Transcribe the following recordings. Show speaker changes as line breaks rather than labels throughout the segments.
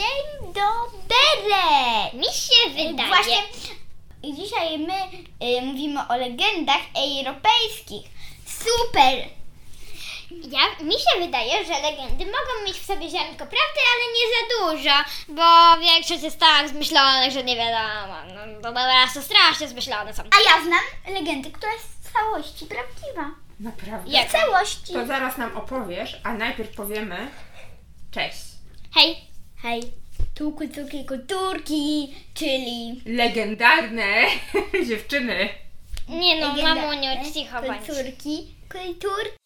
Dzień dobry!
Mi się wydaje.
Właśnie dzisiaj my y, mówimy o legendach europejskich. Super!
Ja, mi się wydaje, że legendy mogą mieć w sobie ziarnko prawdy, ale nie za dużo, bo większość jest tak zmyślonych, że nie wiadomo. No to teraz to strasznie zmyślone są.
A ja znam legendę, która jest w całości prawdziwa.
Naprawdę.
W całości.
To zaraz nam opowiesz, a najpierw powiemy cześć.
Hej,
Hej, tu kulturki, kulturki, czyli...
Legendarne dziewczyny.
nie no,
legenda-
mamuniu, cicho bądź.
Kulturki, kulturki.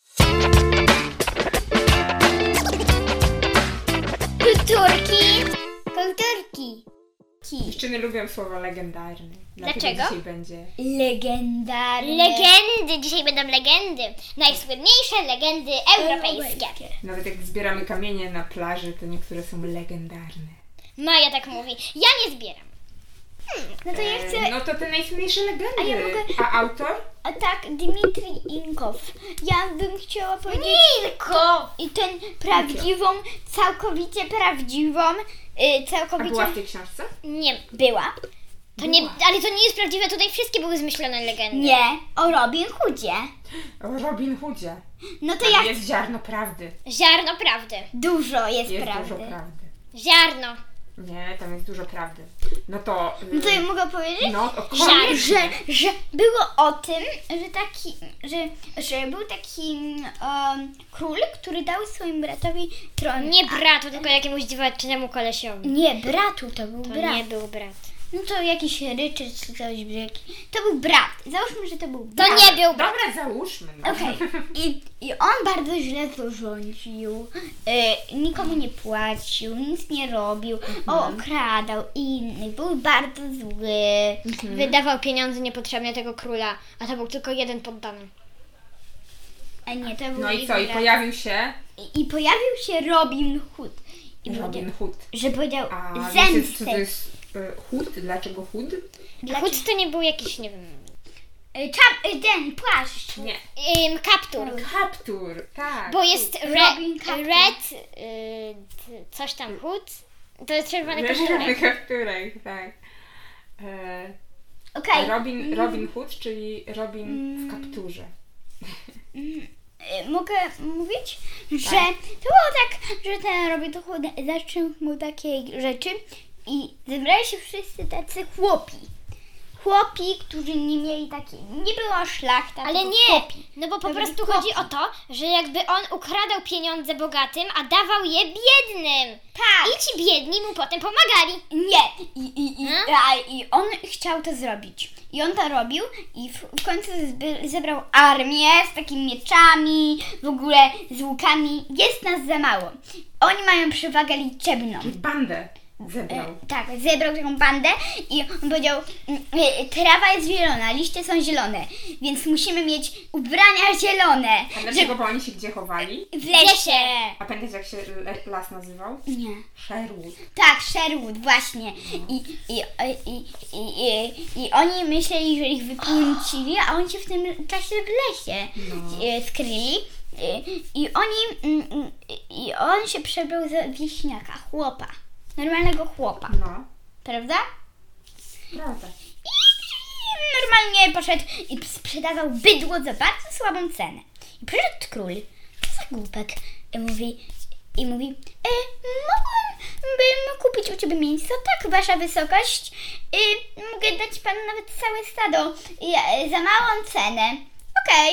Kulturki. Kulturki.
Ki.
Dziewczyny lubią słowo legendarny. Dlatego
Dlaczego?
Dzisiaj będzie.
Legendarne.
Legendy, dzisiaj będą legendy. Najsłynniejsze legendy europejskie.
Nawet jak zbieramy kamienie na plaży, to niektóre są legendarne.
Maja tak mówi. Ja nie zbieram.
No to ja
E,
chcę...
No to te najsłynniejsze legendy.
A ja mogę-
A autor?
A tak, Dmitrij Inkow. Ja bym chciała powiedzieć...
Tylko.
I ten prawdziwą, całkowicie prawdziwą, y,
A była w
całkowicie
tej książce?
Nie,
była.
to nie, ale to nie jest prawdziwe, tutaj wszystkie były zmyślone legendy.
Nie, o Robin Hoodzie.
O Robin Hoodzie.
No to
Tam
jak
Jest ziarno prawdy.
Ziarno prawdy.
dużo jest,
Jest
prawdy.
dużo prawdy.
Ziarno.
Nie, tam jest dużo prawdy. No to. y,
No to ja mogę powiedzieć,
No, o,
Żar-
że, że było o tym, że taki, że, że był taki em, król, który dał swoim bratowi tron.
Nie bratu, tylko jakiemuś dziwacznemu kolesiowi.
Nie, bratu to był
To
brat.
nie był brat.
No to jakiś Ryczard czy coś wielki. To był brat. Załóżmy, że to był
To
brat.
nie był brat.
Dobra, załóżmy. No.
Okej. I, I on bardzo źle to rządził. Y, nikomu nie płacił, nic nie robił, okradał innych, był bardzo zły.
Wydawał pieniądze niepotrzebne tego króla, a to był tylko jeden poddany.
A E, nie, to był
No i
ich
co? I
brat.
pojawił się
I, I pojawił się Robin Hood. I powiedział,
Robin Hood.
że powiedział
A wiecie, co to
zemstę.
jest y, Hood? Dlaczego Hood?
Dlaczego?
Chód to nie był jakiś, nie wiem,
Y, czap, y, ten płaszcz.
Nie.
ym, kaptur.
Kaptur, tak.
Bo jest re,
No. Robin kaptur.
red, y, c- coś tam chód. To jest czerwony
Czerwony
kapturek.
kapturek, tak. E,
Okej.
Robin, Robin Hood, czyli Robin
Mm.
w kapturze.
Y, mogę mówić, że to było tak, że ten robi to chude, zaczął mu takie rzeczy i zebrali się wszyscy tacy chłopi. Chłopi, którzy nie mieli takiej, nie była szlachta,
Ale
tylko
nie,
chłopi.
no bo po
To byli
prostu chodzi o to, że jakby on ukradał pieniądze bogatym, a dawał je biednym.
Tak,
I ci biedni mu potem pomagali.
nie. I, i, i,
Hmm?
a, I on chciał to zrobić. I on to robił i w, w końcu zby, zebrał armię z takimi mieczami, w ogóle z łukami. Jest nas za mało. Oni mają przewagę liczebną.
Bandę zebrał.
E, Tak, zebrał taką bandę i on powiedział, "Mm, e, trawa jest zielona, liście są zielone, więc musimy mieć ubrania zielone.
A dlaczego? Bo oni się gdzie chowali?
W lesie.
A pamiętasz jak się le- las nazywał?
Nie.
Sherwood.
Tak, Sherwood, właśnie. I, i, i, i, i, i oni myśleli, że ich wypęcili, a oni się w tym czasie w lesie e, skryli. E, I oni, mm, mm, i on się przebrał za wieśniaka, chłopa. Normalnego chłopa,
No,
prawda?
prawda.
I normalnie poszedł i sprzedawał bydło za bardzo słabą cenę. I przyszedł król, co za głupek, i mówi, i mówi e, mogłabym kupić u Ciebie miejsce, tak, Wasza Wysokość, e, mogę dać Panu nawet całe stado e, za małą cenę. Okej,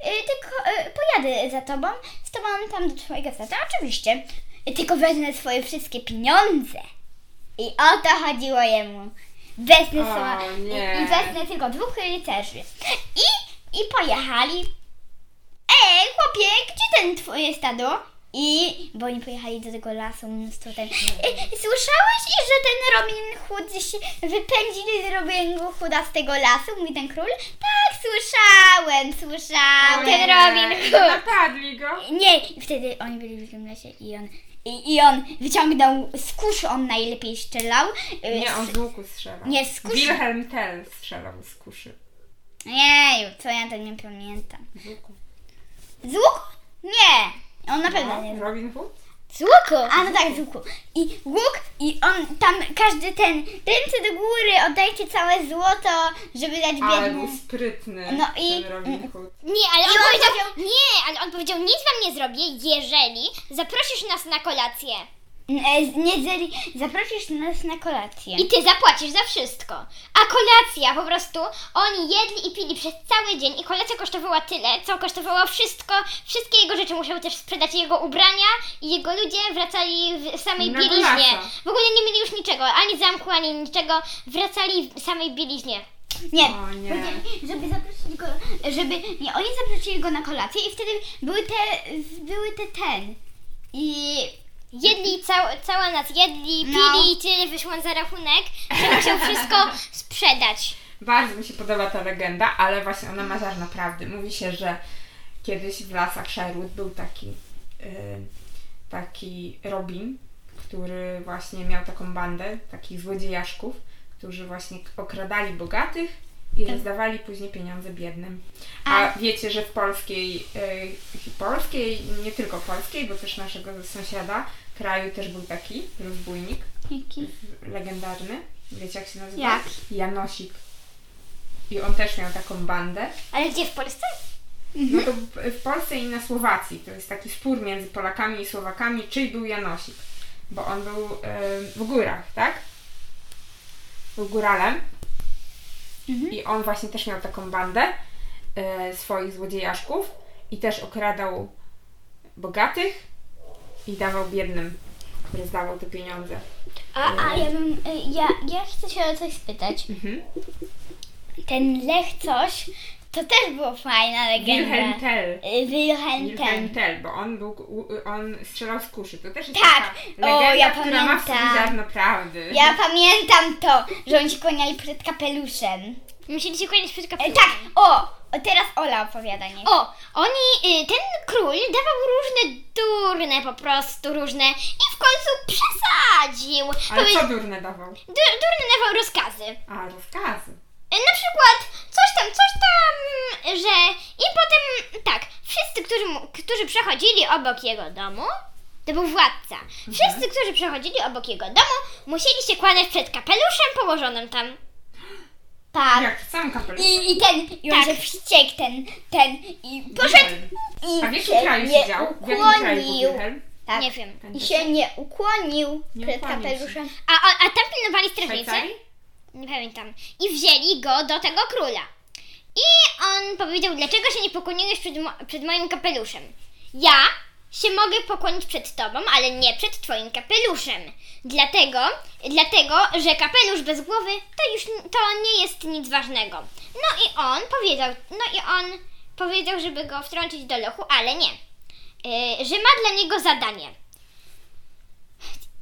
e, tylko e, pojadę za Tobą, z Tobą tam do Twojego stada, oczywiście, E, tylko wezmę swoje wszystkie pieniądze. I o to chodziło jemu. Wezmę
O,
słowa- i-
nie.
I wezmę tylko dwóch rycerzy. I, I pojechali. Ej, chłopie, gdzie ten twoje stado? I, bo oni pojechali do tego lasu, mnóstwo ten.
No.
E, Słyszałeś, że ten Robin Hood się wypędzili z Robin Hooda z tego lasu? Mówi ten król. Tak, słyszałem, słyszałem.
Nie,
Ten Robin Hood.
Napadli go.
Nie! I wtedy oni byli w tym lesie i on, i, i on wyciągnął z kuszy, on najlepiej strzelał. y,
Nie, on
z-
z łuku strzelał.
Nie, z kuszy.
Wilhelm Tell strzelał z kuszy.
Jeju, co ja to nie pamiętam.
Z łuku.
Z łuku? Nie! On na pewno nie.
No, Robin Hood?
Z łuku.
A no tak, z łuku. I łuk, i on tam każdy ten, ręce do góry, oddajcie całe złoto, żeby dać
Ale był
biednym.
sprytny
No i-
ten Robin Hood.
Nie, ale on
I on
powiedział,
powiedział-
nie, ale on powiedział, nic wam nie zrobię, jeżeli zaprosisz nas na kolację
E, z- Nie, zeli, zaprosisz nas na kolację.
i ty zapłacisz za wszystko. A kolacja po prostu, oni jedli i pili przez cały dzień i kolacja kosztowała tyle, co kosztowało wszystko, wszystkie jego rzeczy musiał też sprzedać, jego ubrania i jego ludzie wracali w samej
Na
bieliźnie.
golasa.
W ogóle nie mieli już niczego, ani zamku, ani niczego, wracali w samej bieliźnie.
Nie,
O nie.
powiedzieli, żeby zaprosić go, żeby, nie, oni zaprosili go na kolację i wtedy były te, były te ten. I
Jedli, cał, cała nas jedli, pili
No.
i tyle wyszło za rachunek, że musiał wszystko sprzedać.
Bardzo mi się podoba ta legenda, ale właśnie ona ma ziarno prawdy. Mówi się, że kiedyś w lasach Sherwood był taki, y, taki Robin, który właśnie miał taką bandę takich złodziejaszków, którzy właśnie okradali bogatych i
Tak.
rozdawali później pieniądze biednym. A wiecie, że w polskiej, y, polskiej, nie tylko polskiej, bo też naszego sąsiada kraju też był taki rozbójnik
jaki?
legendarny. Wiecie jak się nazywa?
Jak?
Janosik. I on też miał taką bandę.
Ale gdzie w Polsce?
No to w- w Polsce i na Słowacji. To jest taki spór między Polakami i Słowakami, czyj był Janosik. Bo on był em, w górach, tak? Był góralem. I on właśnie też miał taką bandę e, swoich złodziejaszków i też okradał bogatych i dawał biednym, rozdawał te pieniądze.
A, a ja bym, y, ja, ja chcę się o coś spytać.
Mhm.
Ten Lech coś, to też było fajna legenda.
Wilhelm Tell.
Y, Wilhelm
Wilhelm
ten.
Tell, bo on, był, u- on strzelał z kuszy. To też jest
Tak.
taka
O,
legenda,
ja
która ma w sobie
pamiętam.
ziarno prawdy.
Ja pamiętam to, że oni się kłaniali przed kapeluszem.
Musieli się kłaniać przed
E,
kapelą.
tak, o, o, teraz Ola opowiada, nie?
O, oni, y, ten król dawał różne durne po prostu, różne i w końcu przesadził.
Ale
Powie-
co durne dawał?
du- durne dawał rozkazy.
A, rozkazy.
Y, Na przykład coś tam, coś tam, że i potem tak, wszyscy, którzy, mu- którzy przechodzili obok jego domu, to był władca.
Mhm.
Wszyscy, którzy przechodzili obok jego domu, musieli się kłaniać przed kapeluszem położonym tam.
tak.
Jak w sam kapelusz.
I, I ten, i on
Tak.
się wściekł, ten, ten, i poszedł i
A w jakim
się
kraju
nie
siedział? W jakim kraju był
ukłonił.
Wilhelm?
Tak.
Nie wiem.
I się nie ukłonił
Nie
przed
ukłonił się.
kapeluszem.
A, a, a tam pilnowali strażnicy?
Szwajcarii?
Nie pamiętam. I wzięli go do tego króla. I on powiedział, dlaczego się nie pokłoniłeś przed, mo- przed moim kapeluszem? Ja się mogę pokłonić przed tobą, ale nie przed twoim kapeluszem. Dlatego, dlatego, że kapelusz bez głowy to już n- to nie jest nic ważnego. No i on powiedział, no i on powiedział, żeby go wtrącić do lochu, ale nie. Yy, że ma dla niego zadanie.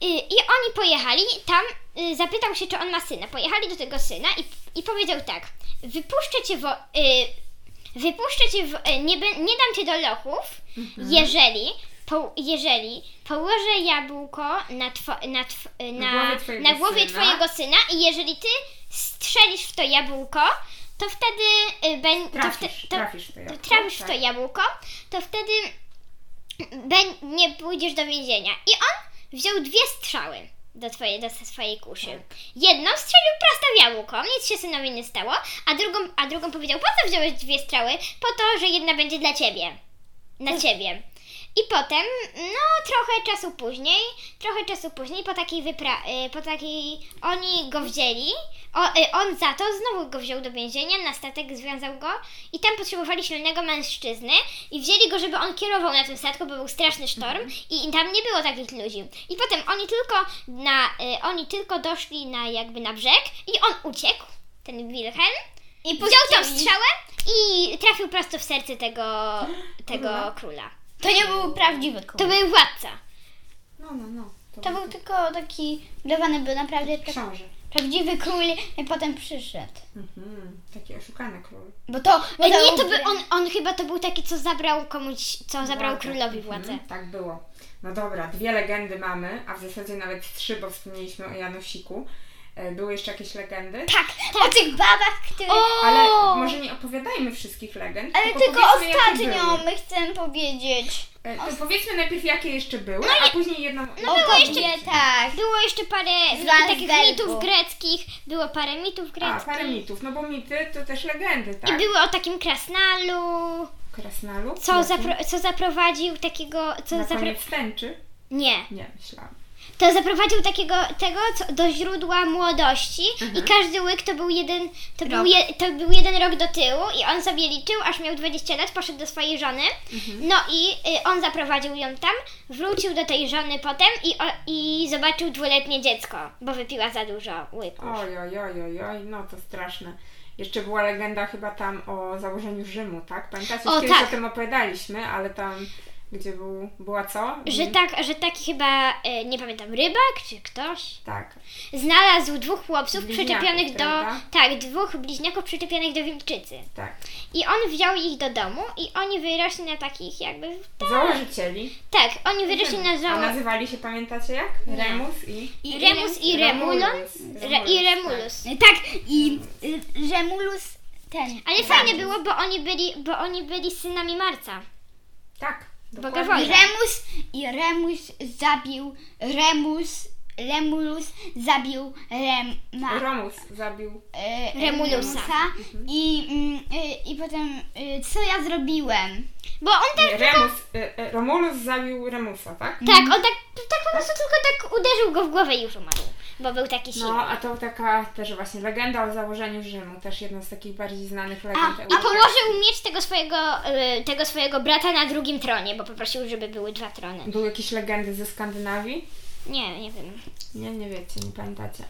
Y, I oni pojechali tam, y, zapytał się, czy on ma syna. Pojechali do tego syna i, i powiedział tak: Wypuszczę cię, wo, y, wypuszczę cię w, y, nie, bę- nie dam cię do lochów,
Mhm.
jeżeli, po, jeżeli położę jabłko na, two, na, tw, y, na,
Na głowie twojego
na głowie
syna.
twojego syna i jeżeli ty strzelisz w to jabłko, to wtedy y, będ- to,
Trafisz,
wte- to,
trafisz w to
to
jabłko.
trafisz w to
Tak.
jabłko, to wtedy bę- nie pójdziesz do więzienia. I on wziął dwie strzały do, twojej, do swojej kuszy.
Tak.
Jedną strzelił prosto w jabłko, nic się synowi nie stało, a drugą, a drugą powiedział, po co wziąłeś dwie strzały? Po to, że jedna będzie dla ciebie. Na ciebie. I potem, no trochę czasu później, trochę czasu później po takiej wyprawie, po takiej, oni go wzięli, o, y, on za to znowu go wziął do więzienia, na statek związał go i tam potrzebowali silnego mężczyzny i wzięli go, żeby on kierował na tym statku, bo był straszny sztorm i, i tam nie było takich ludzi. I potem oni tylko na, y, oni tylko doszli na jakby na brzeg i on uciekł, ten Wilhelm,
I
wziął tą
puścili.
strzałę i trafił prosto w serce tego, tego króla.
To nie był prawdziwy król.
To był władca.
No, no, no.
To był tylko taki udawany, był naprawdę pra-
książę.
prawdziwy król i potem przyszedł.
Mhm. Taki oszukany król.
Bo to... Bo
E, Nie, to by on, on chyba to był taki, co zabrał komuś, co zabrał
Władzę.
królowi władzę.
Mhm, tak było. No dobra, dwie legendy mamy, a w zasadzie nawet trzy, bo wspomnieliśmy o Janusiku. E, Były jeszcze jakieś legendy?
Tak, o tych babach, które...
Ale
No!
może nie opowiadajmy wszystkich legend.
Ale tylko
powiedzmy, jakie
ostatnią
były.
my chcemy powiedzieć.
E, To powiedzmy najpierw, jakie jeszcze były, a później jedną.
No o
tak.
kobietach.
Było jeszcze parę
Z
mi-
Landsbergu.
takich mitów greckich, było parę mitów
A,
greckich.
parę mitów, no bo mity to też legendy,
I
tak?
były o takim krasnalu,
Krasnalu?
co,
Jakim?
zapro- co zaprowadził takiego, co
Na
zapro-
koniec tęczy?
Nie.
Nie, myślałam.
To zaprowadził takiego tego co, do źródła młodości
Mhm.
i każdy łyk to był jeden to był, je, to był jeden rok do tyłu i on sobie liczył, aż miał 20 lat, poszedł do swojej żony.
Mhm.
No i y, on zaprowadził ją tam, wrócił do tej żony potem i, o, i zobaczył dwuletnie dziecko, bo wypiła za dużo łyku.
Oj, oj, oj, oj, oj, no to straszne. Jeszcze była legenda chyba tam o założeniu Rzymu, tak? Pamiętacie,
O,
kiedyś
tak.
o tym opowiadaliśmy, ale tam, gdzie był, była co?
Że
Mm,
tak, że taki chyba, y, nie pamiętam, rybak czy ktoś
Tak.
znalazł dwóch chłopców
Bliźniaków,
przyczepionych do,
prawda?
tak, dwóch bliźniaków przyczepionych do wilczycy.
Tak.
I on wziął ich do domu i oni wyrośli na takich jakby...
Założycieli.
Tak, oni wyrośli na
A
zało...
nazywali się, pamiętacie jak? Remus i...
Remus i Remulons? Re- I Remulus.
Tak, i y, że Mulus ten...
Ale fajnie było, bo oni byli, bo oni byli synami Marca.
Tak.
Boga
dokładnie.
I
wojna.
Remus, i Remus zabił Remus, Remulus zabił Rema,
Romus zabił.
e,
Remulusa.
i, mm, y, i potem y, co ja zrobiłem?
Bo on tak...
Nie, Remus, e, e, Romulus zabił Remusa, tak?
Tak, on tak, tak po prostu tylko tak uderzył go w głowę i już umarł. Bo był taki silny.
No, a to taka też właśnie legenda o założeniu Rzymu, też jedna z takich bardziej znanych legend.
A, i
I
europejskich.
położył miecz tego swojego, y, tego swojego brata na drugim tronie, bo poprosił, żeby były dwa trony.
Były jakieś legendy ze Skandynawii?
Nie, nie wiem.
Nie, nie wiecie, nie pamiętacie.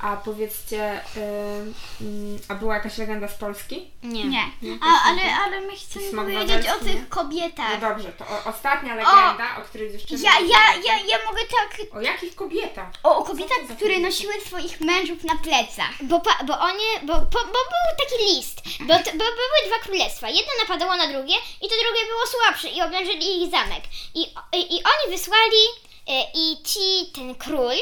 A powiedzcie, ym, mm, a była jakaś legenda z Polski?
Nie.
Mhm. Nie, A, ale, ale my chcemy
Smok
powiedzieć o
wawelski,
tych
nie?
Tak.
kobietach.
No dobrze, to o, ostatnia legenda, o, której dziewczyny...
Ja, ja, ja, ja mogę tak
O jakich kobietach?
o, o kobietach, które nosiły swoich mężów na plecach.
Bo, pa, bo oni, bo, bo, bo był taki list, bo, t, bo były dwa królestwa. Jedno napadało na drugie i to drugie było słabsze i oblężyli ich zamek. I, i, i oni wysłali e, i ci, ten król,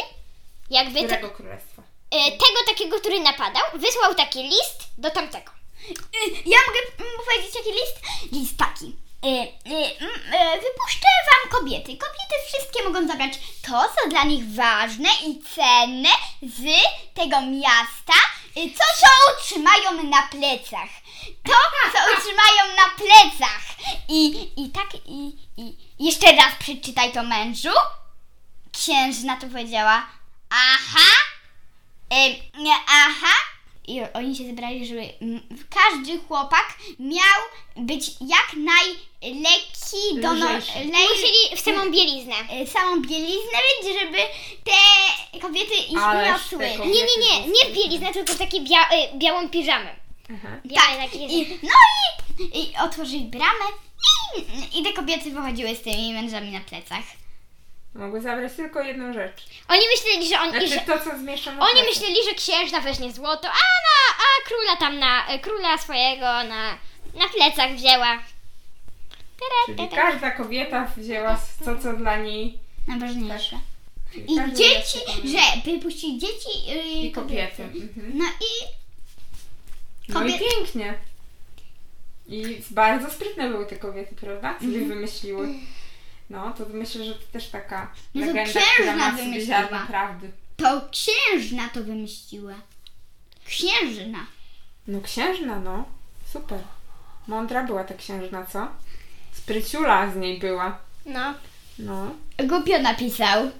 jakby te,
Którego królestwa?
e, tego takiego, który napadał, wysłał taki list do tamtego.
Y, Ja mogę mm, powiedzieć jaki list? List taki. Y, y, mm, y, Wypuszczę wam kobiety. Kobiety wszystkie mogą zabrać to, co dla nich ważne i cenne z tego miasta, y, co co utrzymają na plecach. To, co utrzymają na plecach. I, i tak, i, i jeszcze raz przeczytaj to mężu. Księżna to powiedziała. Aha! Ym, nie, aha. I oni się zebrali, żeby mm, każdy chłopak miał być jak najleki do no,
Lżejszy.
lej,
Musieli w samą bieliznę.
y, samą bieliznę mieć, żeby te kobiety ich
Ależ
niosły.
te
Nie, nie, nie, nie w bieliznę, tylko w takie bia, e, białą piżamę.
Aha.
Białe
Tak,
takie-
I, no i, i otworzyli bramę i, i te kobiety wychodziły z tymi mężami na plecach.
Mogły zabrać tylko jedną rzecz.
Oni myśleli, że on... i że,
Znaczy to, co zmieszczą na
Oni
plecach.
myśleli, że księżna weźmie złoto, a, na, a króla tam na e, króla swojego na, na plecach wzięła. Tere,
Czyli
tere.
każda kobieta wzięła to, co dla niej...
Najważniejsze.
czyli
I
Tak. każdy
dzieci,
miał-
że wypuścili dzieci y,
I kobiety. Mhm.
No i
No i
Kobiet-
pięknie. I bardzo sprytne były te kobiety, prawda? Sobie
Mhm.
wymyśliły. No, to myślę, że to też taka
Mm. No to
legenda, która
księżna
ma sobie
wymyśliła.
ziarno prawdy.
To księżna to wymyśliła. Księżna.
No księżna, no. Super. Mądra była ta księżna, co? Spryciula z niej była.
No.
No.
Głupio napisał.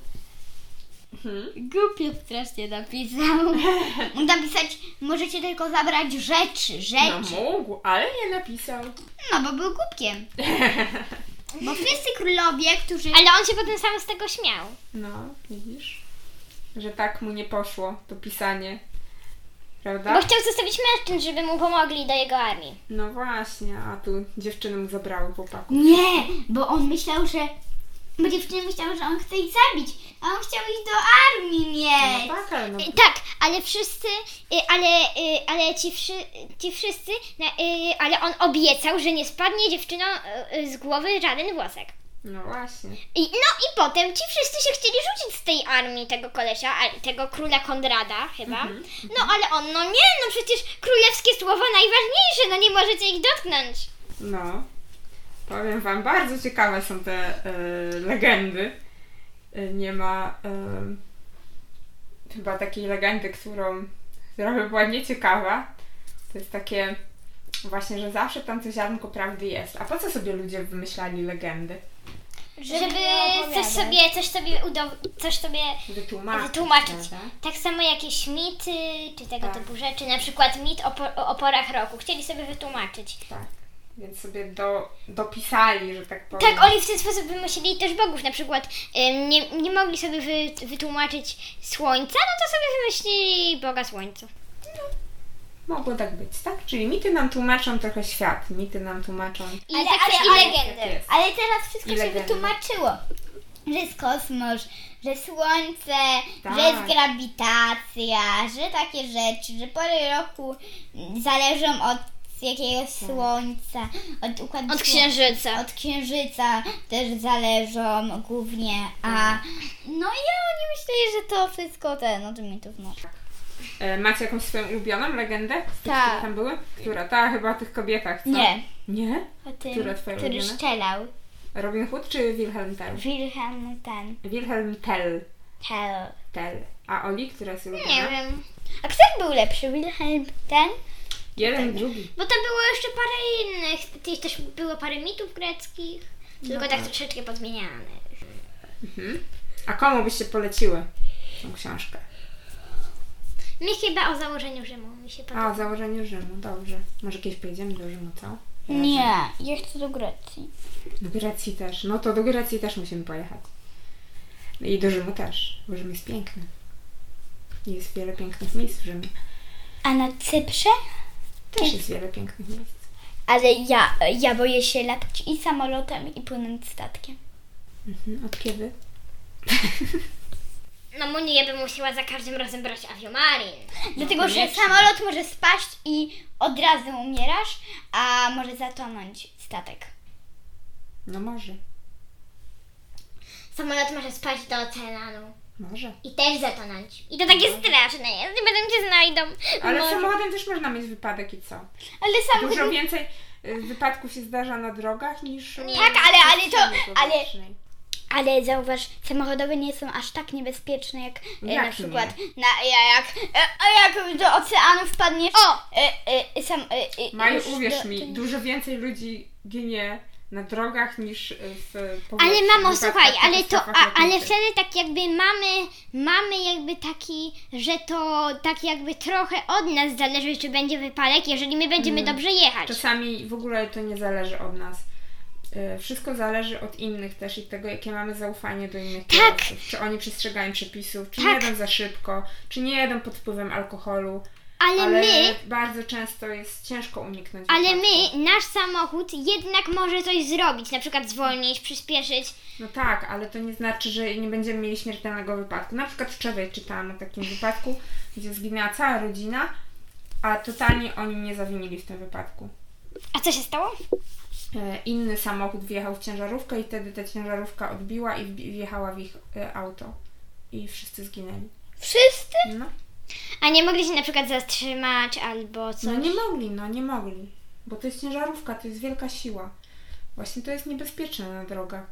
Mhm.
Głupio strasznie napisał. Mógł napisać, możecie tylko zabrać rzeczy,
No
rzeczy.
mógł, ale nie napisał.
No bo był głupkiem. Bo wszyscy królowie, którzy...
Ale on się potem sam z tego śmiał.
No, widzisz? Że tak mu nie poszło to pisanie. Prawda?
Bo chciał zostawić mężczyzn, żeby mu pomogli do jego armii.
No właśnie, a tu dziewczyny mu zabrały chłopaku.
Nie, bo on myślał, że... Bo dziewczyny myślały, że on chce ich zabić. A on chciał ich do armii mieć.
No tak, ale no,
Y, Tak, ale wszyscy, y, ale, y, ale ci, wszy, ci e, wszyscy, na- y, ale on obiecał, że nie spadnie dziewczynom y, y, z e, głowy żaden włosek.
No właśnie.
I, no i potem ci wszyscy się chcieli rzucić z tej armii tego kolesia, a- tego króla Konrada chyba.
Mhm,
No ale on, no nie, no przecież królewskie słowa najważniejsze, no nie możecie ich dotknąć.
No. Powiem wam, bardzo ciekawe są te y, legendy. Y, nie ma y, chyba takiej legendy, którą, która by była nieciekawa. To jest takie właśnie, że zawsze tam to ziarnko prawdy jest. A po co sobie ludzie wymyślali legendy?
Żeby,
nie
coś
opowiadać.
sobie, coś sobie udow- coś sobie
Wytłumaczyć.
wytłumaczyć.
prawda?
Tak samo jakieś mity, czy tego
Tak.
typu rzeczy, na przykład mit o, po- o porach roku. Chcieli sobie wytłumaczyć.
Tak. Więc sobie do, dopisali, że tak powiem.
Tak, oni w ten sposób wymyślili też bogów. Na przykład ym, nie, nie mogli sobie wy, wytłumaczyć słońca, no to sobie wymyślili Boga Słońca.
Mogło tak być, tak? Czyli mity nam tłumaczą trochę świat. Mity nam tłumaczą.
Ale,
Ale-
tak
ale-
sobie
ale-
i legendy.
Jest.
Ale teraz wszystko
I
się
legendy.
wytłumaczyło. Że jest kosmos, że słońce,
Tak.
że jest grawitacja, że takie rzeczy, że pory roku zależą od
Tak.
jakiegoś słońca, od układu
Od
sło-
księżyca.
Od księżyca też zależą głównie, a
Tak.
no i oni myśleli, że to wszystko ten od mitów, no.
E, macie jakąś swoją ulubioną legendę? Z tych,
Tak.
które tam były? Która? Ta chyba o tych kobietach, co?
Nie.
Nie?
O tym,
Która twoja
który
ulubiona?
szczelał.
Robin Hood czy Wilhelm Tell?
Wilhelm ten,
Wilhelm Tell.
Tell.
Tell. A Oli, która jest ulubiona?
Nie wiem.
A kto był lepszy, Wilhelm ten?
Tak.
Jeden, drugi.
Bo tam było jeszcze parę innych. Też- Też było parę mitów greckich. Tylko tak troszeczkę podmienianych.
A komu byście poleciły tą książkę?
Mi chyba o założeniu Rzymu mi się podoba.
A, o założeniu Rzymu, dobrze. Może kiedyś pojedziemy do Rzymu, co?
Nie, ja chcę do Grecji.
Do Grecji też. No to do Grecji też musimy pojechać. No I do Rzymu też, bo Rzym jest piękny. I Jest wiele pięknych miejsc w Rzymie.
A na Cyprze?
Też jest wiele pięknych miejsc.
Ale ja, ja boję się latać i samolotem, i płynąć statkiem.
Mhm. Od kiedy?
No Monię bym musiała za każdym razem brać aviomarin.
Dlatego, że samolot może spaść i od razu umierasz, a może zatonąć statek.
No może.
Samolot może spaść do oceanu.
Może.
I też zatonąć.
No
I to takie straszne jest. Nie będą cię znajdą.
Ale
Może-
samochodem też można mieć wypadek i co?
Ale
Dużo
samochód...
więcej y, wypadków się zdarza na drogach niż... y,
Tak, ale, ale
w
to...
przestrzeni
Ale,
powietrznej.
ale zauważ, samochodowe nie są aż tak niebezpieczne jak, e,
Jak
na
nie?
przykład... Na, ja- jak, e, a jak do oceanu wpadniesz... O! E, e, sam, e, e,
Maju,
już
uwierz
do- to
mi,
nie-
dużo więcej ludzi ginie na drogach niż y, w powietrzu.
Ale mamo,
w
słuchaj,
wypadkach,
ale to, a,
katastrofach
ale
lotniczych.
wtedy tak jakby mamy, mamy jakby taki, że to tak jakby trochę od nas zależy, czy będzie wypadek, jeżeli my będziemy
Hmm.
dobrze jechać.
Czasami w ogóle to nie zależy od nas. Y, Wszystko zależy od innych też i tego, jakie mamy zaufanie do innych kierowców. Czy oni przestrzegają przepisów, czy nie
Tak.
jadą za szybko, czy nie jadą pod wpływem alkoholu.
Ale,
Ale tak,
my,
bardzo często jest ciężko uniknąć
ale
wypadku.
my, nasz samochód jednak może coś zrobić, na przykład zwolnić, przyspieszyć.
No tak, ale to nie znaczy, że nie będziemy mieli śmiertelnego wypadku. Na przykład wczoraj czytałam o takim wypadku, gdzie zginęła cała rodzina, a totalnie oni nie zawinili w tym wypadku.
A co się stało?
E, Inny samochód wjechał w ciężarówkę i wtedy ta ciężarówka odbiła i wbi- wjechała w ich e, auto. I wszyscy zginęli.
Wszyscy?
No,
A nie mogli się na przykład zatrzymać albo co?
no nie mogli, no nie mogli. Bo to jest ciężarówka, to jest wielka siła. Właśnie to jest niebezpieczne na drogach.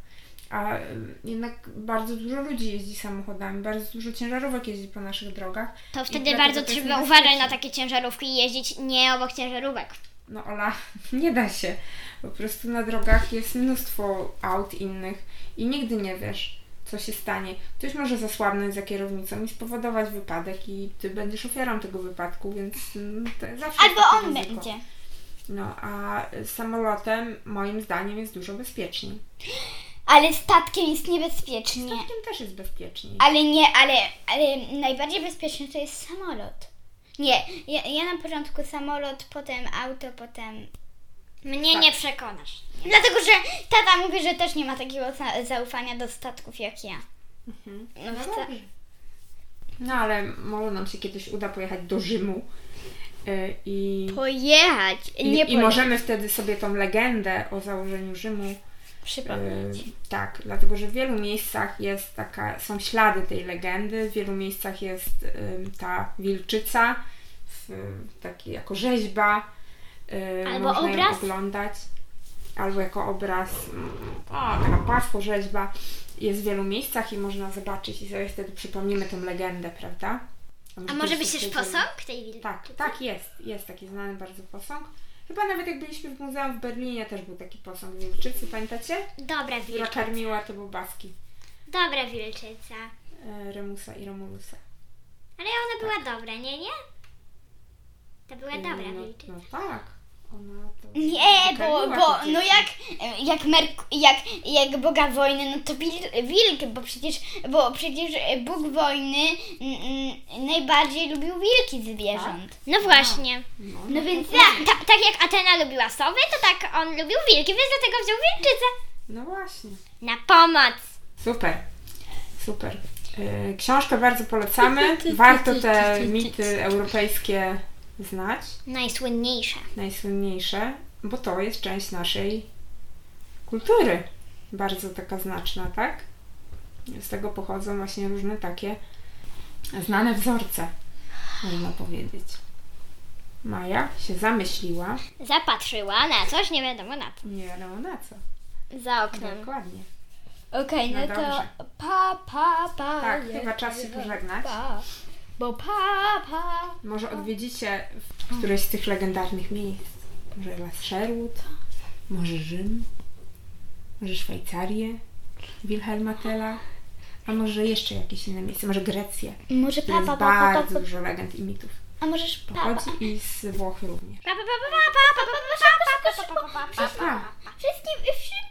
A e, jednak bardzo dużo ludzi jeździ samochodami, bardzo dużo ciężarówek jeździ po naszych drogach.
To wtedy
dlatego
bardzo
to jest
trzeba
niebezpieczne.
uważać na takie ciężarówki i jeździć nie obok ciężarówek.
No Ola, nie da się. Po prostu na drogach jest mnóstwo aut innych i nigdy nie wiesz, co się stanie. Ktoś może zasłabnąć za kierownicą i spowodować wypadek i ty będziesz ofiarą tego wypadku, więc mm, to jest zawsze
Albo
takie
on
ryzyko.
będzie.
No, a y, samolotem moim zdaniem jest dużo bezpieczniej.
Ale statkiem jest niebezpiecznie.
Statkiem też jest bezpieczniej.
Ale nie, ale, ale najbardziej bezpieczny to jest samolot. Nie, ja, ja na początku samolot, potem auto, potem.
Mnie
Tak.
nie przekonasz.
Dlatego, że tata mówi, że też nie ma takiego za- zaufania do statków jak ja. No,
No
to,
dobrze. No ale może nam się kiedyś uda pojechać do Rzymu y, i...
pojechać,
I,
nie
I
pojechać.
możemy wtedy sobie tą legendę o założeniu Rzymu
przypomnieć.
E, Tak, dlatego że w wielu miejscach jest taka, są ślady tej legendy, w wielu miejscach jest em, ta wilczyca w, taki, jako rzeźba, e,
Albo
można ją
obraz.
oglądać, albo jako obraz, mm, o, taka płaskorzeźba jest w wielu miejscach i można zobaczyć i sobie wtedy przypomnimy tę legendę, prawda?
A może
kiedyś
być też
się
posąg tej wilki?
tak, tak jest. Jest taki znany bardzo posąg. Chyba nawet jak byliśmy w muzeum w Berlinie, też był taki posąg wilczycy, pamiętacie?
Dobra
Która
wilczyca.
karmiła te bobaski
Dobra wilczyca.
e, Remusa i Romulusa.
Ale ona była dobra, nie, nie? To była
I
dobra
no,
wilczyca.
no tak, ona to...
Nie, bo,
Karmiła
bo
te
no
dzieci.
jak, jak, Merk, jak, jak Boga wojny, no to wil- wilk, bo przecież, bo przecież Bóg wojny mm, mm, najbardziej lubił wilki
Tak?
zwierząt.
No właśnie.
No,
No więc
Ta, ta, tak jak Atena lubiła sowy, to tak on lubił wilki, więc dlatego wziął wilczycę.
no właśnie.
Na pomoc!
Super, super. E, Książkę bardzo polecamy. Warto te mity europejskie znać,
Najsłynniejsze.
najsłynniejsze, bo to jest część naszej kultury. Bardzo taka znaczna, tak? Z tego pochodzą właśnie różne takie znane wzorce, można powiedzieć. Maja się zamyśliła,
Zapatrzyła na coś, nie wiadomo na co.
nie wiadomo na co.
Za oknem.
Dokładnie.
Okej,
No dobrze.
pa, pa, pa.
Tak, chyba czas się pożegnać.
pa. Bo pa, pa.
Może odwiedzicie w- któreś z tych legendarnych miejsc. Może Las Sherwood, może Rzym, może Szwajcarię, Wilhelma Tella, a może jeszcze jakieś inne miejsce, może Grecję.
Może
Tu
pa,
jest
pa, pa, pa,
bardzo
pa,
dużo legend i mitów.
A możesz pa, pa.
Pochodzi i z Włoch również.
Pa, pa, pa, pa, pa, pa, pa, pa, pa, pa, pa, pa, pa, pa, pa, pa, pa, pa.
A,
Wszystkim, wszystkim